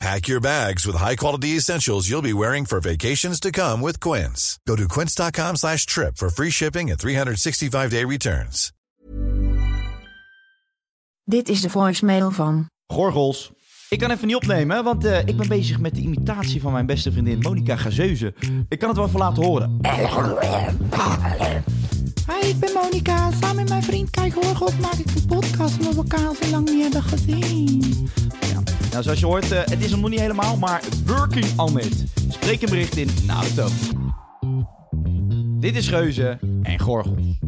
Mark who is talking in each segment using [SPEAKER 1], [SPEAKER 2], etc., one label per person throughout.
[SPEAKER 1] Pack your bags with high-quality essentials you'll be wearing for vacations to come with Quince. Go to quince.com slash trip for free shipping and 365-day returns.
[SPEAKER 2] Dit is de voicemail van.
[SPEAKER 3] Gorgels. Ik kan even niet opnemen, want eh, ik ben bezig met de imitatie van mijn beste vriendin Monica Gazeuze. Ik kan het wel even laten horen.
[SPEAKER 4] Hi, ik ben Monika. Samen met mijn vriend Kijk Horgop maak ik de podcast omdat we elkaar al zo lang niet hebben gezien.
[SPEAKER 3] Nou, zoals je hoort, eh, het is hem nog niet helemaal, maar working on it. Spreek een bericht in na de toon. Dit is Geuze en Gorgels.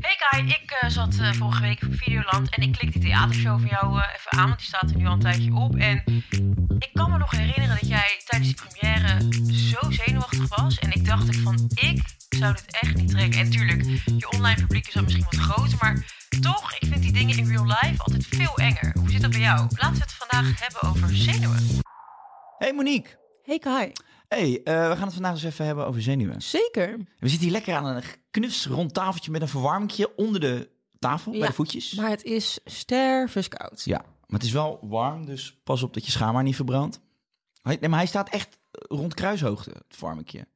[SPEAKER 5] Hey Kai, ik eh, zat eh, vorige week op Videoland en ik klik die theatershow van jou eh, even aan, want die staat er nu al een tijdje op. En ik kan me nog herinneren dat jij tijdens die première zo zenuwachtig was. En ik dacht ik van, ik zou dit echt niet trekken. En tuurlijk, je online publiek is dan misschien wat groter, maar toch, ik vind die dingen in real life altijd veel enger. Hoe zit dat bij jou? Laten we het vandaag hebben over zenuwen.
[SPEAKER 3] Hey Monique.
[SPEAKER 4] Hey Kai.
[SPEAKER 3] Hey, eh, we gaan het vandaag eens even hebben over zenuwen.
[SPEAKER 4] Zeker.
[SPEAKER 3] We zitten hier lekker aan een knus rond tafeltje met een verwarmingje onder de tafel, bij de voetjes.
[SPEAKER 4] Maar het is stervenskoud.
[SPEAKER 3] Ja, maar het is wel warm, dus pas op dat je schaamhaar niet verbrandt. Hij- Nee, maar hij staat echt rond kruishoogte, het varmetje.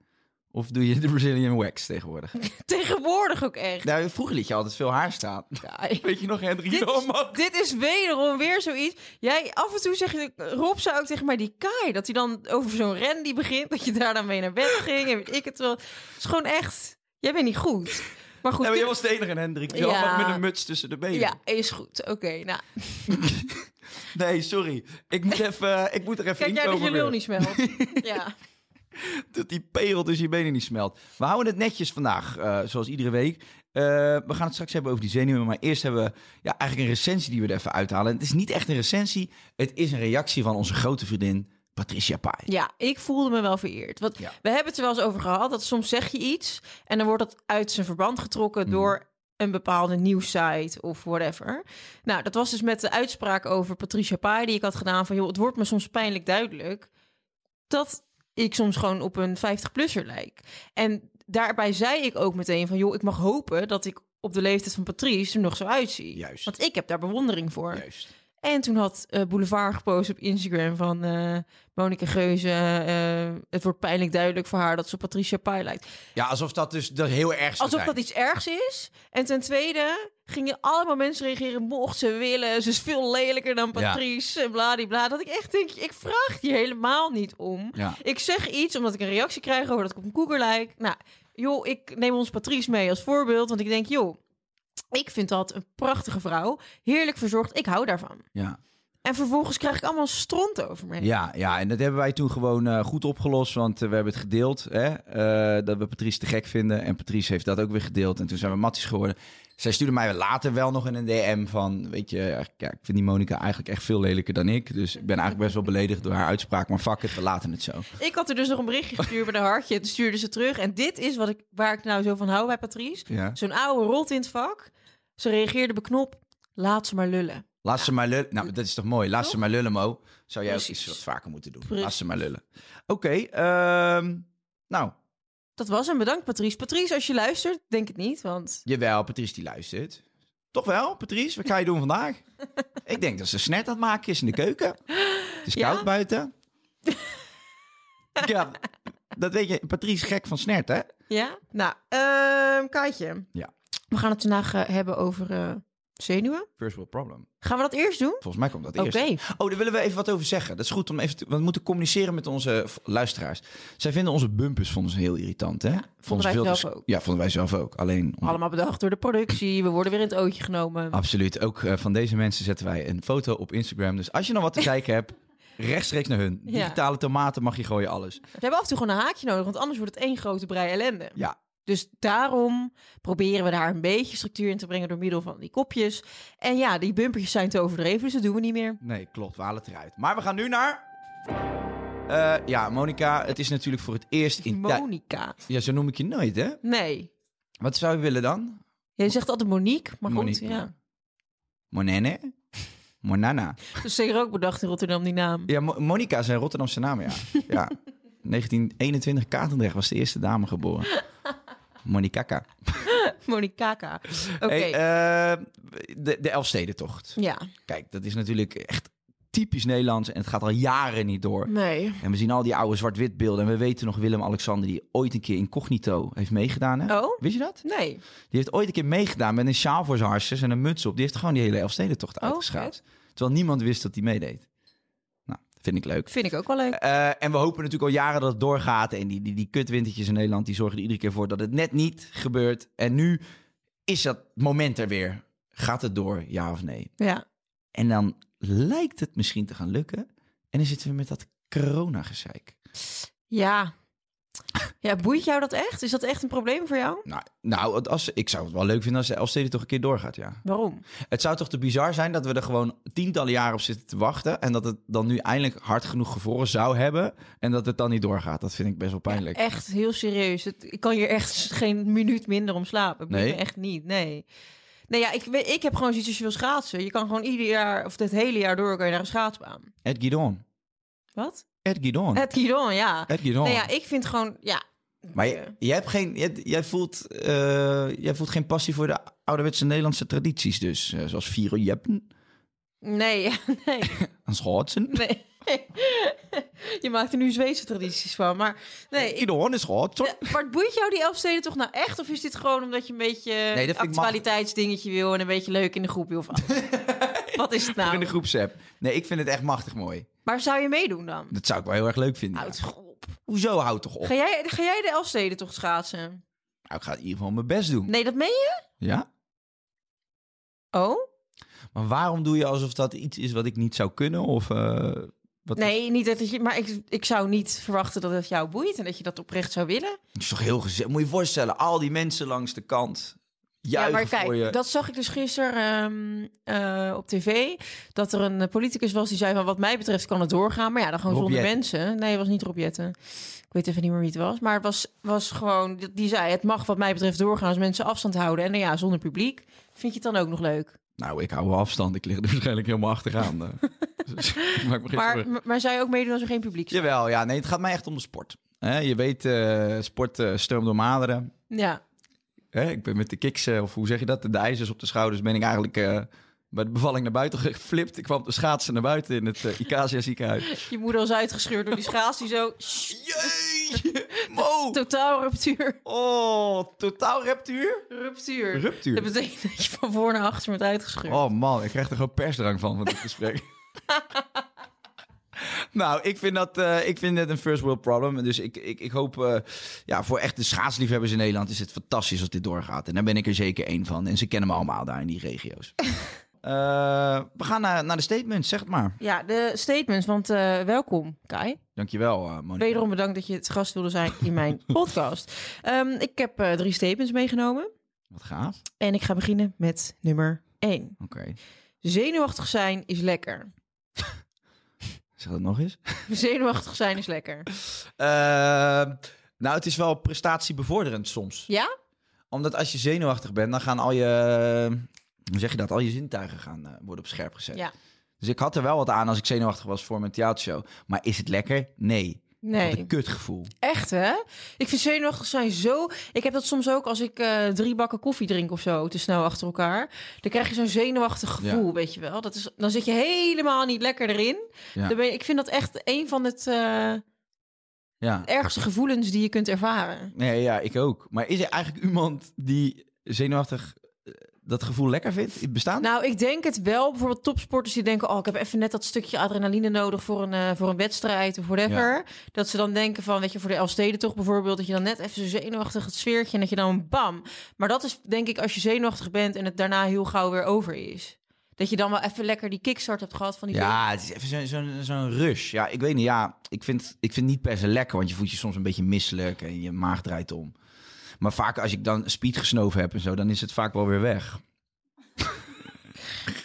[SPEAKER 3] Of doe je de Brazilian wax tegenwoordig?
[SPEAKER 4] Tegenwoordig ook echt.
[SPEAKER 3] nou, vroeger liet je altijd veel haar staan.
[SPEAKER 4] Kai.
[SPEAKER 3] Weet je nog, Hendrik?
[SPEAKER 4] Dit
[SPEAKER 3] Oh, man.
[SPEAKER 4] is, dit is wederom weer zoiets. Jij, af en toe zeg je, Rob zou ook tegen mij die Kai, dat hij dan over zo'n ren die begint, dat je daar dan mee naar bed ging en weet ik het wel. Het is gewoon echt, jij bent niet goed. Maar goed,
[SPEAKER 3] Ja, maar jij
[SPEAKER 4] dit-
[SPEAKER 3] was de enige, Hendrik. Je
[SPEAKER 4] Ja.
[SPEAKER 3] had nog met een muts tussen de benen.
[SPEAKER 4] ja, is goed. Oké, nou,
[SPEAKER 3] Nee, sorry. Ik moet, even, eh, ik moet er even
[SPEAKER 4] kijk
[SPEAKER 3] in
[SPEAKER 4] jij dat
[SPEAKER 3] komen
[SPEAKER 4] je
[SPEAKER 3] weer.
[SPEAKER 4] lul niet smelt. ja.
[SPEAKER 3] Dat die perel tussen je benen niet smelt. We houden het netjes vandaag, eh, zoals iedere week. Eh, we gaan het straks hebben over die zenuwen. Maar eerst hebben we ja, eigenlijk een recensie die we er even uithalen. En het is niet echt een recensie. Het is een reactie van onze grote vriendin Patricia Pai.
[SPEAKER 4] Ja, ik voelde me wel vereerd. Want
[SPEAKER 3] Ja.
[SPEAKER 4] we hebben het er wel eens over gehad. Dat soms zeg je iets en dan wordt dat uit zijn verband getrokken
[SPEAKER 3] Mhm.
[SPEAKER 4] door een bepaalde nieuwssite of whatever. Nou, dat was dus met de uitspraak over Patricia Pai die ik had gedaan van joh, het wordt me soms pijnlijk duidelijk dat ik soms gewoon op een 50-plusser lijk. En daarbij zei ik ook meteen van joh, ik mag hopen dat ik op de leeftijd van Patrice er nog zo uitzie.
[SPEAKER 3] Juist.
[SPEAKER 4] Want ik heb daar bewondering voor.
[SPEAKER 3] Juist.
[SPEAKER 4] En toen had eh, Boulevard gepost op Instagram van eh Monika Geuze. eh, het wordt pijnlijk duidelijk voor haar dat ze op Patricia Pai lijkt.
[SPEAKER 3] Ja, alsof dat dus dat heel erg zou
[SPEAKER 4] Alsof
[SPEAKER 3] zijn.
[SPEAKER 4] dat iets ergs is. En ten tweede gingen allemaal mensen reageren. Mocht ze willen, ze is veel lelijker dan
[SPEAKER 3] Ja.
[SPEAKER 4] Patrice. En bladibla. Dat ik echt denk, ik vraag hier helemaal niet om.
[SPEAKER 3] Ja.
[SPEAKER 4] Ik zeg iets omdat ik een reactie krijg over dat ik op een koeker lijk. Nou, joh, ik neem ons Patrice mee als voorbeeld. Want ik denk, joh, ik vind dat een prachtige vrouw. Heerlijk verzorgd. Ik hou daarvan.
[SPEAKER 3] Ja.
[SPEAKER 4] En vervolgens krijg ik allemaal stront over me.
[SPEAKER 3] Ja, ja, en dat hebben wij toen gewoon eh, goed opgelost. Want eh, we hebben het gedeeld. Hè, eh, dat we Patrice te gek vinden. En Patrice heeft dat ook weer gedeeld. En toen zijn we matties geworden. Zij stuurde mij later wel nog in een DM van... Weet je, ja, ik vind die Monika eigenlijk echt veel lelijker dan ik. Dus ik ben eigenlijk best wel beledigd door haar uitspraak. Maar fuck het, we laten het zo.
[SPEAKER 4] Ik had er dus nog een berichtje gestuurd met een hartje. Het stuurde ze terug. En dit is wat ik, waar ik nou zo van hou bij Patrice.
[SPEAKER 3] Ja.
[SPEAKER 4] Zo'n oude rolt in het vak. Ze reageerde beknopt. Laat ze maar lullen.
[SPEAKER 3] Laat ze maar lullen. Nou, dat is toch mooi. Laat ze maar lullen, Mo. Zou jij
[SPEAKER 4] Precies.
[SPEAKER 3] ook iets wat vaker moeten doen. Laat
[SPEAKER 4] Precies.
[SPEAKER 3] ze maar lullen. Oké, ehm, nou,
[SPEAKER 4] Dat was hem. Bedankt, Patrice. Patrice, als je luistert, denk het niet. Want
[SPEAKER 3] Jawel, Patrice die luistert. Toch wel, Patrice? Wat ga je doen vandaag? ik denk dat ze snert aan het maken is in de keuken. Het is
[SPEAKER 4] Ja?
[SPEAKER 3] koud buiten. ja, dat weet je. Patrice gek van snert, hè?
[SPEAKER 4] ja. Nou, ehm Kaatje.
[SPEAKER 3] Ja.
[SPEAKER 4] We gaan het vandaag eh, hebben over eh, Zenuwen?
[SPEAKER 3] First world problem.
[SPEAKER 4] Gaan we dat eerst doen?
[SPEAKER 3] Volgens mij komt dat
[SPEAKER 4] Oké.
[SPEAKER 3] eerst. Oh, daar willen we even wat over zeggen. Dat is goed om even te, want we moeten communiceren met onze v- luisteraars. Zij vinden onze bumpers vonden ze heel irritant, hè? vonden,
[SPEAKER 4] wij
[SPEAKER 3] ze veel te
[SPEAKER 4] zelf
[SPEAKER 3] sch-
[SPEAKER 4] ook.
[SPEAKER 3] Ja, vonden wij zelf ook. Alleen om-
[SPEAKER 4] Allemaal bedacht door de productie. We worden weer in het ootje genomen.
[SPEAKER 3] absoluut. Ook eh, van deze mensen zetten wij een foto op Instagram. Dus als je nog wat te kijken hebt, rechtstreeks naar hun.
[SPEAKER 4] Ja.
[SPEAKER 3] Digitale tomaten mag je gooien alles.
[SPEAKER 4] We hebben af en toe gewoon een haakje nodig, want anders wordt het één grote brei ellende.
[SPEAKER 3] Ja.
[SPEAKER 4] Dus daarom proberen we daar een beetje structuur in te brengen door middel van die kopjes. En ja, die bumpertjes zijn te overdreven, dus dat doen we niet meer.
[SPEAKER 3] Nee, klopt. We halen het eruit. Maar we gaan nu naar Eh, ja, Monica, het is natuurlijk voor het eerst in tijd.
[SPEAKER 4] Monica.
[SPEAKER 3] Ja, zo noem ik je nooit, hè?
[SPEAKER 4] Nee.
[SPEAKER 3] Wat zou je willen dan?
[SPEAKER 4] Jij zegt altijd Monique, maar
[SPEAKER 3] Monique,
[SPEAKER 4] goed, ja.
[SPEAKER 3] Monene? Monana.
[SPEAKER 4] Dus zeker ook bedacht in Rotterdam die naam.
[SPEAKER 3] Ja, Mo- Monica is een Rotterdamse naam, ja. ja. 1921 Katendrecht was de eerste dame geboren. Monikaka.
[SPEAKER 4] Monikaka. Oké.
[SPEAKER 3] Hey, eh, de, de Elfstedentocht.
[SPEAKER 4] ja.
[SPEAKER 3] Kijk, dat is natuurlijk echt typisch Nederlands en het gaat al jaren niet door.
[SPEAKER 4] Nee.
[SPEAKER 3] En we zien al die oude zwart-wit beelden. En we weten nog Willem-Alexander die ooit een keer incognito heeft meegedaan. Hè?
[SPEAKER 4] Oh?
[SPEAKER 3] Wist je dat?
[SPEAKER 4] Nee.
[SPEAKER 3] Die heeft ooit een keer meegedaan met een sjaal voor zijn harsjes en een muts op. Die heeft gewoon die hele Elfstedentocht
[SPEAKER 4] Oh,
[SPEAKER 3] uitgeschaafd. Terwijl niemand wist dat hij meedeed. Nou, vind ik leuk.
[SPEAKER 4] Vind ik ook wel leuk.
[SPEAKER 3] Eh, en we hopen natuurlijk al jaren dat het doorgaat. En die, die, die kutwintertjes in Nederland die zorgen er iedere keer voor dat het net niet gebeurt. En nu is dat moment er weer. Gaat het door, ja of nee?
[SPEAKER 4] Ja.
[SPEAKER 3] En dan lijkt het misschien te gaan lukken. En dan zitten we met dat coronagezeik.
[SPEAKER 4] Ja. Ja, boeit jou dat echt? Is dat echt een probleem voor jou?
[SPEAKER 3] Nou, nou het- als, ik zou het wel leuk vinden als de Elfstede toch een keer doorgaat, ja.
[SPEAKER 4] Waarom?
[SPEAKER 3] Het zou toch te bizar zijn dat we er gewoon tientallen jaren op zitten te wachten. En dat het dan nu eindelijk hard genoeg gevroren zou hebben. En dat het dan niet doorgaat. Dat vind ik best wel pijnlijk.
[SPEAKER 4] Echt heel serieus. Het, ik kan hier echt geen minuut minder om slapen. Ik
[SPEAKER 3] Nee?
[SPEAKER 4] nee. echt niet. Nee. Nee, ja, ik, weet- ik heb gewoon zoiets als je wil schaatsen. Je kan gewoon ieder jaar, of het hele jaar door, kan je naar een schaatsbaan.
[SPEAKER 3] Ed Guidon.
[SPEAKER 4] Wat?
[SPEAKER 3] Ed Guidon.
[SPEAKER 4] Het guidon, ja.
[SPEAKER 3] Ed Guidon.
[SPEAKER 4] Nee, eh, nou ja, eh, ik vind gewoon, ja.
[SPEAKER 3] Maar je, je hebt geen, je- jij, voelt, eh, jij voelt geen passie voor de ouderwetse Nederlandse tradities dus. Eh, zoals vieren jeppen
[SPEAKER 4] Nee, ja, nee.
[SPEAKER 3] en schaatsen.
[SPEAKER 4] Nee. je maakt er nu Zweedse tradities van, maar nee. ik-
[SPEAKER 3] Iedereen is schaatsen.
[SPEAKER 4] Maar boeit jou die Elfsteden toch nou echt? Of is dit gewoon omdat je een beetje
[SPEAKER 3] dat vind ik
[SPEAKER 4] een actualiteitsdingetje wil en een beetje leuk in de groep wil? Of wat is het
[SPEAKER 3] In de
[SPEAKER 4] nou?
[SPEAKER 3] groepsapp. Nee, ik vind het echt machtig mooi.
[SPEAKER 4] Maar zou je meedoen dan?
[SPEAKER 3] Dat zou ik wel heel erg leuk vinden. ja.
[SPEAKER 4] Houd toch op.
[SPEAKER 3] Hoezo houdt toch op?
[SPEAKER 4] Ga jij, ga jij de Elfsteden toch schaatsen?
[SPEAKER 3] Nou, ik ga in ieder geval mijn best doen.
[SPEAKER 4] Nee, dat meen je?
[SPEAKER 3] Ja?
[SPEAKER 4] Oh?
[SPEAKER 3] Maar waarom doe je alsof dat iets is wat ik niet zou kunnen? Of eh, wat
[SPEAKER 4] Nee, niet dat je. Maar ik, ik zou niet verwachten dat het jou boeit en dat je dat oprecht zou willen.
[SPEAKER 3] Het is toch heel gezellig. Moet je je voorstellen, al die mensen langs de kant. Juichen
[SPEAKER 4] ja, maar kijk,
[SPEAKER 3] voor je.
[SPEAKER 4] dat zag ik dus gisteren ehm, eh, op tv. Dat er een eh, politicus was die zei van wat mij betreft kan het doorgaan. Maar ja, dan gewoon
[SPEAKER 3] Rob
[SPEAKER 4] zonder
[SPEAKER 3] Jetten.
[SPEAKER 4] mensen. Nee, het was niet Rob Jetten. Ik weet even niet meer wie het was. Maar het was, was gewoon, die- die zei het mag wat mij betreft doorgaan als mensen afstand houden. En nou ja, zonder publiek vind je het dan ook nog leuk.
[SPEAKER 3] Nou, ik hou wel afstand. Ik lig er waarschijnlijk helemaal achteraan. eh. Dus, ik maak me geen zorgen.
[SPEAKER 4] Maar, maar- maar zou je ook meedoen als er geen publiek is?
[SPEAKER 3] Jawel, ja. Nee, het gaat mij echt om de sport. Hè, je weet, eh, sport eh, stroomt door maderen.
[SPEAKER 4] Ja.
[SPEAKER 3] Hè, ik ben met de kiks, eh, of hoe zeg je dat, de ijzers op de schouders... ben ik eigenlijk eh, bij de bevalling naar buiten geflipt. Ik kwam op de schaatsen naar buiten in het eh, Icasia ziekenhuis.
[SPEAKER 4] Je moeder was uitgescheurd door die schaats die zo...
[SPEAKER 3] Jee! Mo!
[SPEAKER 4] Totaal ruptuur.
[SPEAKER 3] Oh, totaal reptuur?
[SPEAKER 4] Ruptuur.
[SPEAKER 3] Ruptuur.
[SPEAKER 4] Dat betekent dat je van voor naar achter wordt uitgescheurd.
[SPEAKER 3] Oh man, ik krijg er gewoon persdrang van, van dit gesprek. nou, ik vind, dat, eh, ik vind dit een first world problem. Dus ik, ik, ik hoop, eh, ja, voor echt de schaatsliefhebbers in Nederland is het fantastisch als dit doorgaat. En daar ben ik er zeker één van. En ze kennen me allemaal daar in die regio's. Eh, we gaan naar, naar de statements, zeg het maar.
[SPEAKER 4] Ja, de statements, want eh, welkom, Kai.
[SPEAKER 3] Dankjewel, eh Monica.
[SPEAKER 4] Wederom bedankt dat je het gast wilde zijn in mijn podcast. Ehm, ik heb eh, drie statements meegenomen
[SPEAKER 3] Wat gaaf.
[SPEAKER 4] en ik ga beginnen met nummer één.
[SPEAKER 3] Oké,
[SPEAKER 4] Zenuwachtig zijn is lekker.
[SPEAKER 3] zeg dat nog eens.
[SPEAKER 4] Zenuwachtig zijn is lekker.
[SPEAKER 3] Eh, nou, het is wel prestatiebevorderend soms.
[SPEAKER 4] Ja?
[SPEAKER 3] Omdat als je zenuwachtig bent, dan gaan al je, hoe zeg je dat, al je zintuigen gaan eh, worden op scherp gezet.
[SPEAKER 4] Ja.
[SPEAKER 3] Dus ik had er wel wat aan als ik zenuwachtig was voor mijn theatershow. Maar is het lekker? Nee. Wat
[SPEAKER 4] Nee.
[SPEAKER 3] een kutgevoel.
[SPEAKER 4] Echt, hè? Ik vind zenuwachtig zijn zo... Ik heb dat soms ook als ik eh, drie bakken koffie drink of zo, te snel achter elkaar. Dan krijg je zo'n zenuwachtig gevoel, weet je wel. Dat is, dan zit je helemaal niet lekker erin.
[SPEAKER 3] Ja.
[SPEAKER 4] Dan ben je- ik vind dat echt een van het eh,
[SPEAKER 3] Ja.
[SPEAKER 4] ergste gevoelens die je kunt ervaren.
[SPEAKER 3] Nee, ja, ik ook. Maar is er eigenlijk iemand die zenuwachtig eh, dat gevoel lekker vindt? Bestaan?
[SPEAKER 4] Nou, ik denk het wel. Bijvoorbeeld topsporters die denken... oh, ik heb even net dat stukje adrenaline nodig voor een, eh, voor een wedstrijd of whatever. Dat ze dan denken van, weet je, voor de Elfstedentocht bijvoorbeeld... dat je dan net even zo zenuwachtig het sfeertje en dat je dan bam. Maar dat is denk ik als je zenuwachtig bent... en het daarna heel gauw weer over is. Dat je dan wel even lekker die kickstart hebt gehad van die...
[SPEAKER 3] ja, het is even zo'n zo'n zo'n rush. Ja, ik weet niet. Ja, ik vind, ik vind niet per se lekker, want je voelt je soms een beetje misselijk en je maag draait om. Maar vaak als ik dan speed gesnoven heb en zo, dan is het vaak wel weer weg.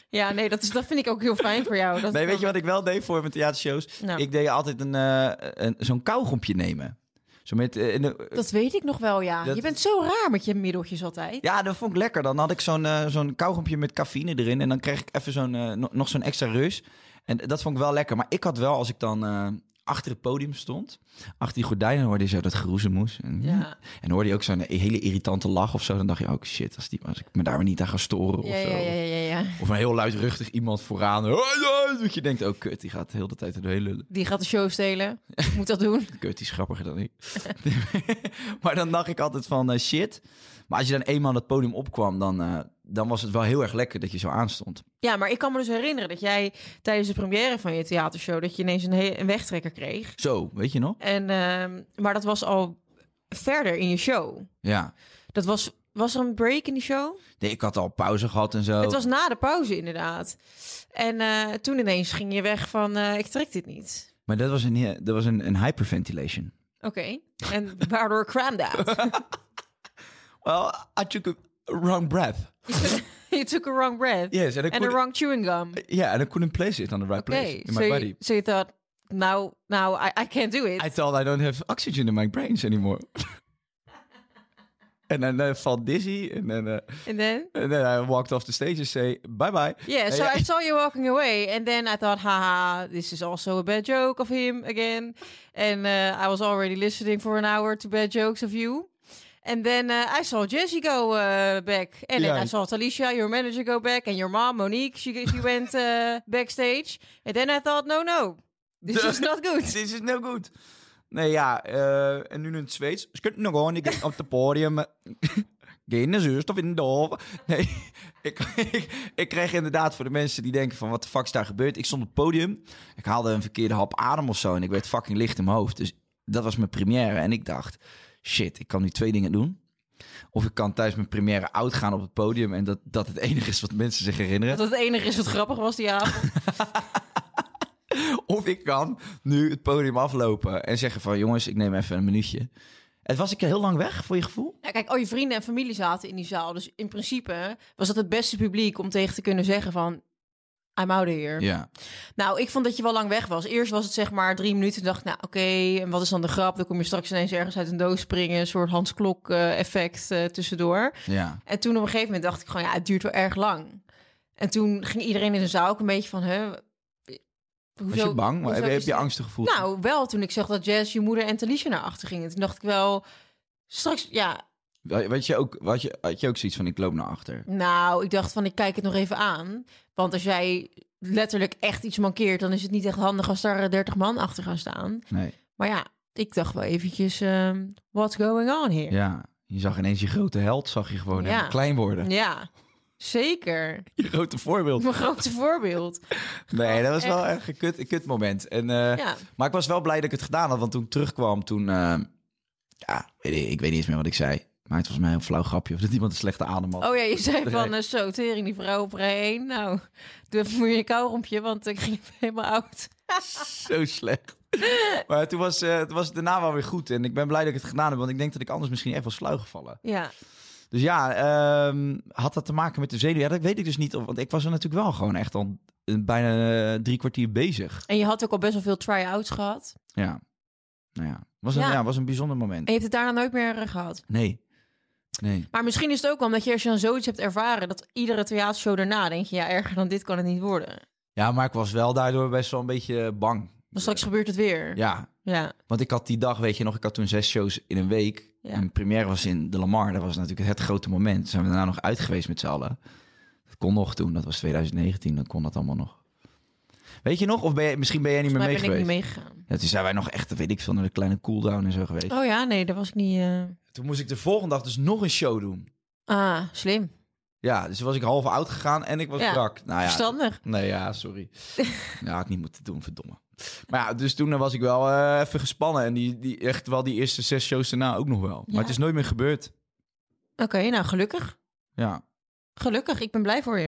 [SPEAKER 4] Ja, nee, dat, is, dat vind ik ook heel fijn voor jou. Dat
[SPEAKER 3] Nee, weet je wat ik wel deed voor mijn theatershows?
[SPEAKER 4] Nou.
[SPEAKER 3] Ik deed altijd een, eh, een, zo'n kauwgompje nemen. Zo met, eh, in de-
[SPEAKER 4] Dat weet ik nog wel, ja.
[SPEAKER 3] Dat-
[SPEAKER 4] Je bent zo raar met je middeltjes altijd.
[SPEAKER 3] Ja, dat vond ik lekker. Dan had ik zo'n eh zo'n kauwgompje met cafeïne erin. En dan kreeg ik even zo'n, eh, no- nog zo'n extra reus. En dat vond ik wel lekker. Maar ik had wel, als ik dan eh, achter het podium stond... achter die gordijnen hoorde je zo dat geroezemoes. En,
[SPEAKER 4] Ja.
[SPEAKER 3] en hoorde je ook zo'n eh, hele irritante lach of zo. Dan dacht je ook, shit, als, die, als ik me daar maar niet aan ga storen of
[SPEAKER 4] Ja,
[SPEAKER 3] zo.
[SPEAKER 4] ja, ja, ja, ja.
[SPEAKER 3] Of een heel luidruchtig iemand vooraan. Hoi, hoi, Dat je denkt, oh kut, die gaat de hele tijd de hele
[SPEAKER 4] Die gaat de show stelen. Moet dat doen.
[SPEAKER 3] Kut, die is grappiger dan ik. maar dan dacht ik altijd van eh, shit. Maar als je dan eenmaal dat podium opkwam, dan, eh, dan was het wel heel erg lekker dat je zo aanstond.
[SPEAKER 4] Ja, maar ik kan me dus herinneren dat jij tijdens de première van je theatershow... dat je ineens een, he- een wegtrekker kreeg.
[SPEAKER 3] Zo, weet je nog?
[SPEAKER 4] En, ehm, maar dat was al verder in je show.
[SPEAKER 3] Ja.
[SPEAKER 4] Dat was, was er een break in die show?
[SPEAKER 3] Nee, ik had al pauze gehad en zo.
[SPEAKER 4] Het was na de pauze inderdaad. En eh, toen ineens ging je weg van eh, ik trek dit niet.
[SPEAKER 3] Maar dat was, een, eh, dat was een, een hyperventilation.
[SPEAKER 4] Oké. En waardoor crammed out.
[SPEAKER 3] Well, I took a wrong breath.
[SPEAKER 4] you took a wrong breath.
[SPEAKER 3] Yes, and I
[SPEAKER 4] and a
[SPEAKER 3] couldn't-
[SPEAKER 4] wrong chewing gum.
[SPEAKER 3] Yeah, and I couldn't place it on the right place
[SPEAKER 4] Okay,
[SPEAKER 3] in
[SPEAKER 4] so,
[SPEAKER 3] my body.
[SPEAKER 4] you, so you thought, now, now I, I can't do it.
[SPEAKER 3] I thought I don't have oxygen in my brains anymore. En dan eh, valt dizzy en dan eh,
[SPEAKER 4] and then,
[SPEAKER 3] and then I walked off the stage and say bye bye.
[SPEAKER 4] yeah, so I saw you walking away, and then I thought, haha, this is also a bad joke of him again. And uh, I was already listening for an hour to bad jokes of you. And then uh, I saw Jesse go uh, back, and then
[SPEAKER 3] Yeah.
[SPEAKER 4] I saw Talisha, your manager, go back, and your mom, Monique, she she went uh, backstage. And then I thought, no, no, this is not good.
[SPEAKER 3] Dit is nou goed. Nee, ja. eh, en nu in het Zweeds. Ze kunnen nog gewoon niet op het podium. eh, Geen zuurstof in de hoofd. Nee, ik, ik, ik kreeg inderdaad voor de mensen die denken van... wat de fuck is daar gebeurd? Ik stond op het podium. Ik haalde een verkeerde hap adem of zo... en ik werd fucking licht in mijn hoofd. Dus dat was mijn première. En ik dacht, shit, ik kan nu twee dingen doen. Of ik kan tijdens mijn première oud gaan op het podium... en dat, dat het enige is wat mensen zich herinneren.
[SPEAKER 4] Dat het enige is wat grappig was die avond.
[SPEAKER 3] Of ik kan nu het podium aflopen en zeggen van... jongens, ik neem even een minuutje. Het was ik heel lang weg, voor je gevoel?
[SPEAKER 4] Ja, kijk, al je vrienden en familie zaten in die zaal. Dus in principe was dat het beste publiek om tegen te kunnen zeggen van... I'm out of here.
[SPEAKER 3] Ja.
[SPEAKER 4] Nou, ik vond dat je wel lang weg was. Eerst was het zeg maar drie minuten. dacht ik, nou oké, en wat is dan de grap? Dan kom je straks ineens ergens uit een doos springen. Een soort Hans Klok eh, effect eh, tussendoor.
[SPEAKER 3] Ja.
[SPEAKER 4] En toen op een gegeven moment dacht ik gewoon, ja, het duurt wel erg lang. En toen ging iedereen in de zaal ook een beetje van... Hè,
[SPEAKER 3] Was je bang? Maar
[SPEAKER 4] hoezo
[SPEAKER 3] heb, je- heb
[SPEAKER 4] is
[SPEAKER 3] je
[SPEAKER 4] dit-
[SPEAKER 3] angstig gevoeld?
[SPEAKER 4] nou, wel toen ik zag dat Jess, je moeder en Talisha naar achter gingen. Toen dacht ik wel, straks, ja,
[SPEAKER 3] Weet je ook, had, je, had je ook zoiets van, ik loop naar achter?
[SPEAKER 4] nou, ik dacht van, ik kijk het nog even aan. Want als jij letterlijk echt iets mankeert, dan is het niet echt handig als daar dertig man achter gaan staan.
[SPEAKER 3] Nee.
[SPEAKER 4] Maar ja, ik dacht wel eventjes, ehm, what's going on here?
[SPEAKER 3] Ja. Je zag ineens je grote held, zag je gewoon
[SPEAKER 4] Ja.
[SPEAKER 3] helemaal klein worden.
[SPEAKER 4] Ja, zeker.
[SPEAKER 3] Je grote voorbeeld.
[SPEAKER 4] Mijn grootste voorbeeld.
[SPEAKER 3] Nee, dat was wel echt een kut, een kut moment. En, eh,
[SPEAKER 4] Ja.
[SPEAKER 3] Maar ik was wel blij dat ik het gedaan had, want toen ik terugkwam, toen... eh, ja, weet ik, ik weet niet eens meer wat ik zei. Maar het was mij een flauw grapje of dat iemand een slechte adem had.
[SPEAKER 4] Oh ja, je zei van,
[SPEAKER 3] Nee.
[SPEAKER 4] eh, zo, tering, die vrouw op rij 1. Nou, doe even moet je kourompje, want ik ging helemaal oud.
[SPEAKER 3] Zo slecht. Maar toen was, eh, toen was het daarna wel weer goed. En ik ben blij dat ik het gedaan heb, want ik denk dat ik anders misschien echt wel sluig gevallen.
[SPEAKER 4] Ja,
[SPEAKER 3] Dus ja, ehm, had dat te maken met de zenuw? Ja, dat weet ik dus niet. of- Want ik was er natuurlijk wel gewoon echt al eh, bijna eh, drie kwartier bezig.
[SPEAKER 4] en je had ook al best wel veel try-outs gehad.
[SPEAKER 3] Ja. Nou ja, was een, ja.
[SPEAKER 4] Ja.
[SPEAKER 3] was een bijzonder moment.
[SPEAKER 4] En je hebt het daarna nooit meer eh, gehad.
[SPEAKER 3] Nee. Nee.
[SPEAKER 4] Maar misschien is het ook wel omdat je als je dan zoiets hebt ervaren... dat iedere theatershow daarna denk je... ja, erger dan dit kan het niet worden.
[SPEAKER 3] Ja, maar ik was wel daardoor best wel een beetje bang.
[SPEAKER 4] Maar straks gebeurt het weer.
[SPEAKER 3] Ja,
[SPEAKER 4] Ja.
[SPEAKER 3] Want ik had die dag, weet je nog, ik had toen zes shows in een week.
[SPEAKER 4] Ja.
[SPEAKER 3] En de première was in De Lamar. Dat was natuurlijk het grote moment. Toen zijn we daarna nog uit geweest met z'n allen. Dat kon nog toen. Dat was 2019. Dan kon dat allemaal nog. Weet je nog? Of ben jij, misschien ben jij niet meer
[SPEAKER 4] Maar
[SPEAKER 3] mee
[SPEAKER 4] ben ik
[SPEAKER 3] geweest?
[SPEAKER 4] niet meegegaan.
[SPEAKER 3] Ja, toen zijn wij nog echt, weet ik veel, naar de kleine cooldown en zo geweest.
[SPEAKER 4] Oh ja, nee, dat was ik niet... eh,
[SPEAKER 3] Toen moest ik de volgende dag dus nog een show doen.
[SPEAKER 4] Ah, slim.
[SPEAKER 3] Ja, dus was ik half oud gegaan en ik was
[SPEAKER 4] Ja,
[SPEAKER 3] brak. Nou ja,
[SPEAKER 4] Verstandig.
[SPEAKER 3] Nee, ja, sorry. ja, had niet moeten doen, verdomme. Maar ja, dus toen eh, was ik wel eh, even gespannen. En die, die, echt wel die eerste zes shows daarna ook nog wel.
[SPEAKER 4] Ja.
[SPEAKER 3] Maar het is nooit meer gebeurd.
[SPEAKER 4] Oké, nou gelukkig.
[SPEAKER 3] Ja.
[SPEAKER 4] Gelukkig, ik ben blij voor je.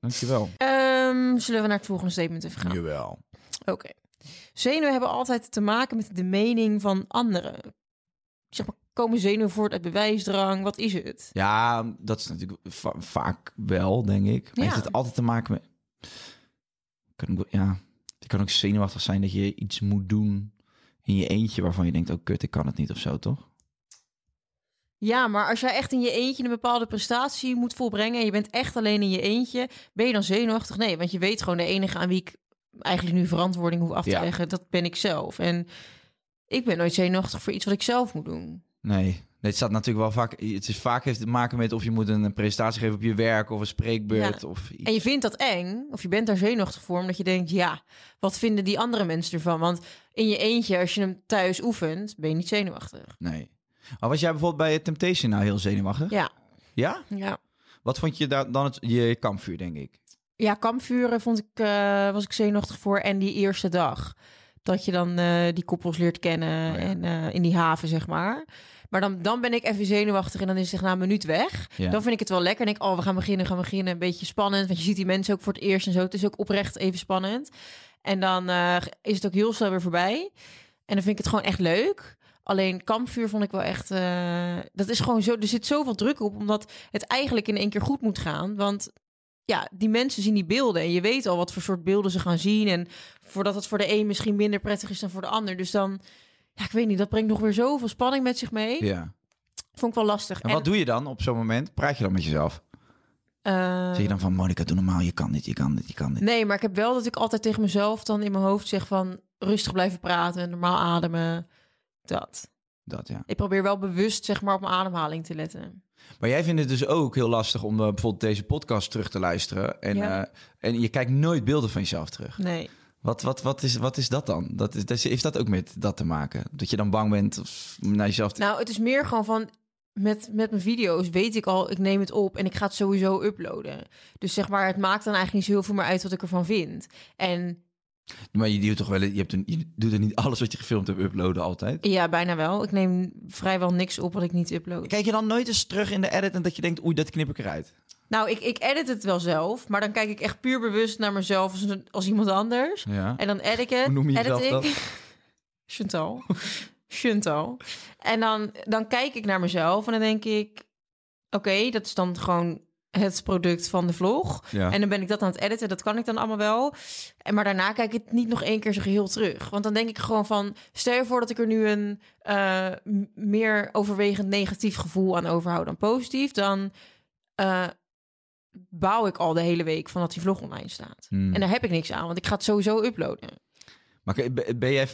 [SPEAKER 3] Dankjewel.
[SPEAKER 4] Ehm, zullen we naar het volgende statement even gaan?
[SPEAKER 3] Jawel.
[SPEAKER 4] Oké. Zenuwen hebben altijd te maken met de mening van anderen. Zeg maar, komen zenuwen voort uit bewijsdrang? Wat is het?
[SPEAKER 3] Ja, dat is natuurlijk va- vaak wel, denk ik. Maar
[SPEAKER 4] Ja.
[SPEAKER 3] heeft het altijd te maken met... Kan ook, ja, het kan ook zenuwachtig zijn dat je iets moet doen in je eentje... waarvan je denkt, oh kut, ik kan het niet of zo, toch?
[SPEAKER 4] Ja, maar als jij echt in je eentje een bepaalde prestatie moet volbrengen... en je bent echt alleen in je eentje, ben je dan zenuwachtig? Nee, want je weet gewoon de enige aan wie ik eigenlijk nu verantwoording hoef af te
[SPEAKER 3] Ja.
[SPEAKER 4] leggen... dat ben ik zelf. En ik ben nooit zenuwachtig voor iets wat ik zelf moet doen.
[SPEAKER 3] Nee. nee, het staat natuurlijk wel vaak... Het is vaak heeft het te maken met of je moet een presentatie geven op je werk... of een spreekbeurt
[SPEAKER 4] Ja.
[SPEAKER 3] of iets.
[SPEAKER 4] En je vindt dat eng, of je bent daar zenuwachtig voor, omdat je denkt, ja, wat vinden die andere mensen ervan? Want in je eentje, als je hem thuis oefent, ben je niet zenuwachtig.
[SPEAKER 3] Nee. Maar was jij bijvoorbeeld bij Temptation nou heel zenuwachtig?
[SPEAKER 4] Ja,
[SPEAKER 3] Ja?
[SPEAKER 4] ja.
[SPEAKER 3] Wat vond je daar dan het, je kampvuur, denk ik?
[SPEAKER 4] Ja, kampvuren vond ik, eh, was ik zenuwachtig voor. En die eerste dag, dat je dan eh, die koppels leert kennen
[SPEAKER 3] Oh ja.
[SPEAKER 4] en eh, in die haven, zeg maar. Maar dan, dan ben ik even zenuwachtig en dan is het echt na een minuut weg.
[SPEAKER 3] Ja.
[SPEAKER 4] Dan vind ik het wel lekker. En ik, oh, we gaan beginnen, gaan beginnen. Een beetje spannend, want je ziet die mensen ook voor het eerst en zo. Het is ook oprecht even spannend. En dan eh, is het ook heel snel weer voorbij. En dan vind ik het gewoon echt leuk. Alleen kampvuur vond ik wel echt. eh, dat is gewoon zo. Er zit zoveel druk op, omdat het eigenlijk in één keer goed moet gaan. Want ja, die mensen zien die beelden. En je weet al wat voor soort beelden ze gaan zien. En voordat het voor de een misschien minder prettig is dan voor de ander. Dus dan, ja, ik weet niet, dat brengt nog weer zoveel spanning met zich mee.
[SPEAKER 3] Ja.
[SPEAKER 4] Vond ik wel lastig.
[SPEAKER 3] En wat doe je dan op zo'n moment? Praat je dan met jezelf?
[SPEAKER 4] eh,
[SPEAKER 3] Zeg je dan van, Monica, doe normaal, je kan dit, je kan dit, je kan dit.
[SPEAKER 4] Nee, maar ik heb wel dat ik altijd tegen mezelf dan in mijn hoofd zeg van rustig blijven praten, normaal ademen. Dat.
[SPEAKER 3] Dat, ja.
[SPEAKER 4] Ik probeer wel bewust zeg maar op mijn ademhaling te letten.
[SPEAKER 3] Maar jij vindt het dus ook heel lastig om eh, bijvoorbeeld deze podcast terug te luisteren. En,
[SPEAKER 4] Ja.
[SPEAKER 3] eh, en je kijkt nooit beelden van jezelf terug.
[SPEAKER 4] Nee.
[SPEAKER 3] Wat, wat, wat, is, wat is dat dan? Dat is, dat is- heeft dat ook met dat te maken? Dat je dan bang bent of naar jezelf... te-
[SPEAKER 4] Nou, het is meer gewoon van. Met, met mijn video's weet ik al, ik neem het op en ik ga het sowieso uploaden. Dus zeg maar, het maakt dan eigenlijk niet zo heel veel meer uit wat ik ervan vind. En
[SPEAKER 3] Maar je doet toch wel... Je, hebt een, je doet er niet alles wat je gefilmd hebt uploaden altijd.
[SPEAKER 4] ja, bijna wel. Ik neem vrijwel niks op wat ik niet upload.
[SPEAKER 3] Kijk je dan nooit eens terug in de edit en dat je denkt... Oei, dat knip ik eruit.
[SPEAKER 4] Nou, ik, ik edit het wel zelf, maar dan kijk ik echt puur bewust naar mezelf als, een- als iemand anders.
[SPEAKER 3] Ja.
[SPEAKER 4] En dan edit ik het.
[SPEAKER 3] Hoe noem je
[SPEAKER 4] edit
[SPEAKER 3] jezelf
[SPEAKER 4] ik.
[SPEAKER 3] dat?
[SPEAKER 4] Chantal. Chantal. En dan, dan kijk ik naar mezelf en dan denk ik... Oké, dat is dan gewoon het product van de vlog.
[SPEAKER 3] Ja.
[SPEAKER 4] En dan ben ik dat aan het editen. Dat kan ik dan allemaal wel. En, maar daarna kijk ik het niet nog één keer zo geheel terug. Want dan denk ik gewoon van... Stel je voor dat ik er nu een eh, m- meer overwegend negatief gevoel aan overhoud dan positief. Dan eh, bouw ik al de hele week van dat die vlog online staat. En daar heb ik niks aan, want ik ga het sowieso uploaden.
[SPEAKER 3] Maar k- ben- ben jij,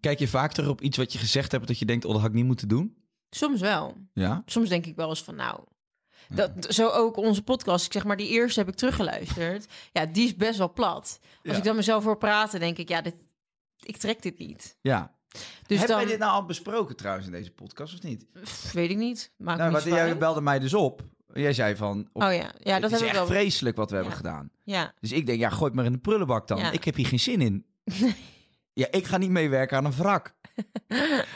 [SPEAKER 3] kijk je vaak terug op iets wat je gezegd hebt... dat je denkt, oh, dat had ik niet moeten doen?
[SPEAKER 4] Soms wel.
[SPEAKER 3] Ja.
[SPEAKER 4] Soms denk ik wel eens van nou.
[SPEAKER 3] Mm.
[SPEAKER 4] Dat, Zo ook onze podcast. Ik zeg maar, die eerste heb ik teruggeluisterd. Ja, die is best wel plat. Als
[SPEAKER 3] Ja.
[SPEAKER 4] ik dan mezelf hoor praten, denk ik, ja, dit, ik trek dit niet.
[SPEAKER 3] Ja.
[SPEAKER 4] Dus
[SPEAKER 3] Hebben
[SPEAKER 4] dan
[SPEAKER 3] wij dit nou al besproken trouwens in deze podcast of niet?
[SPEAKER 4] Pff, weet ik niet. Maakt
[SPEAKER 3] Nou,
[SPEAKER 4] me
[SPEAKER 3] wat,
[SPEAKER 4] niet zo
[SPEAKER 3] jij
[SPEAKER 4] uit.
[SPEAKER 3] belde mij dus op. En Jij zei van, op-
[SPEAKER 4] Oh ja, ja dat
[SPEAKER 3] het is
[SPEAKER 4] heb ik
[SPEAKER 3] echt
[SPEAKER 4] wel.
[SPEAKER 3] vreselijk wat we hebben
[SPEAKER 4] Ja.
[SPEAKER 3] gedaan.
[SPEAKER 4] Ja. nou,
[SPEAKER 3] Dus ik denk, ja, gooi het maar in de prullenbak dan.
[SPEAKER 4] Ja.
[SPEAKER 3] Ik heb hier geen zin in. Ja, ik ga niet meewerken aan een wrak.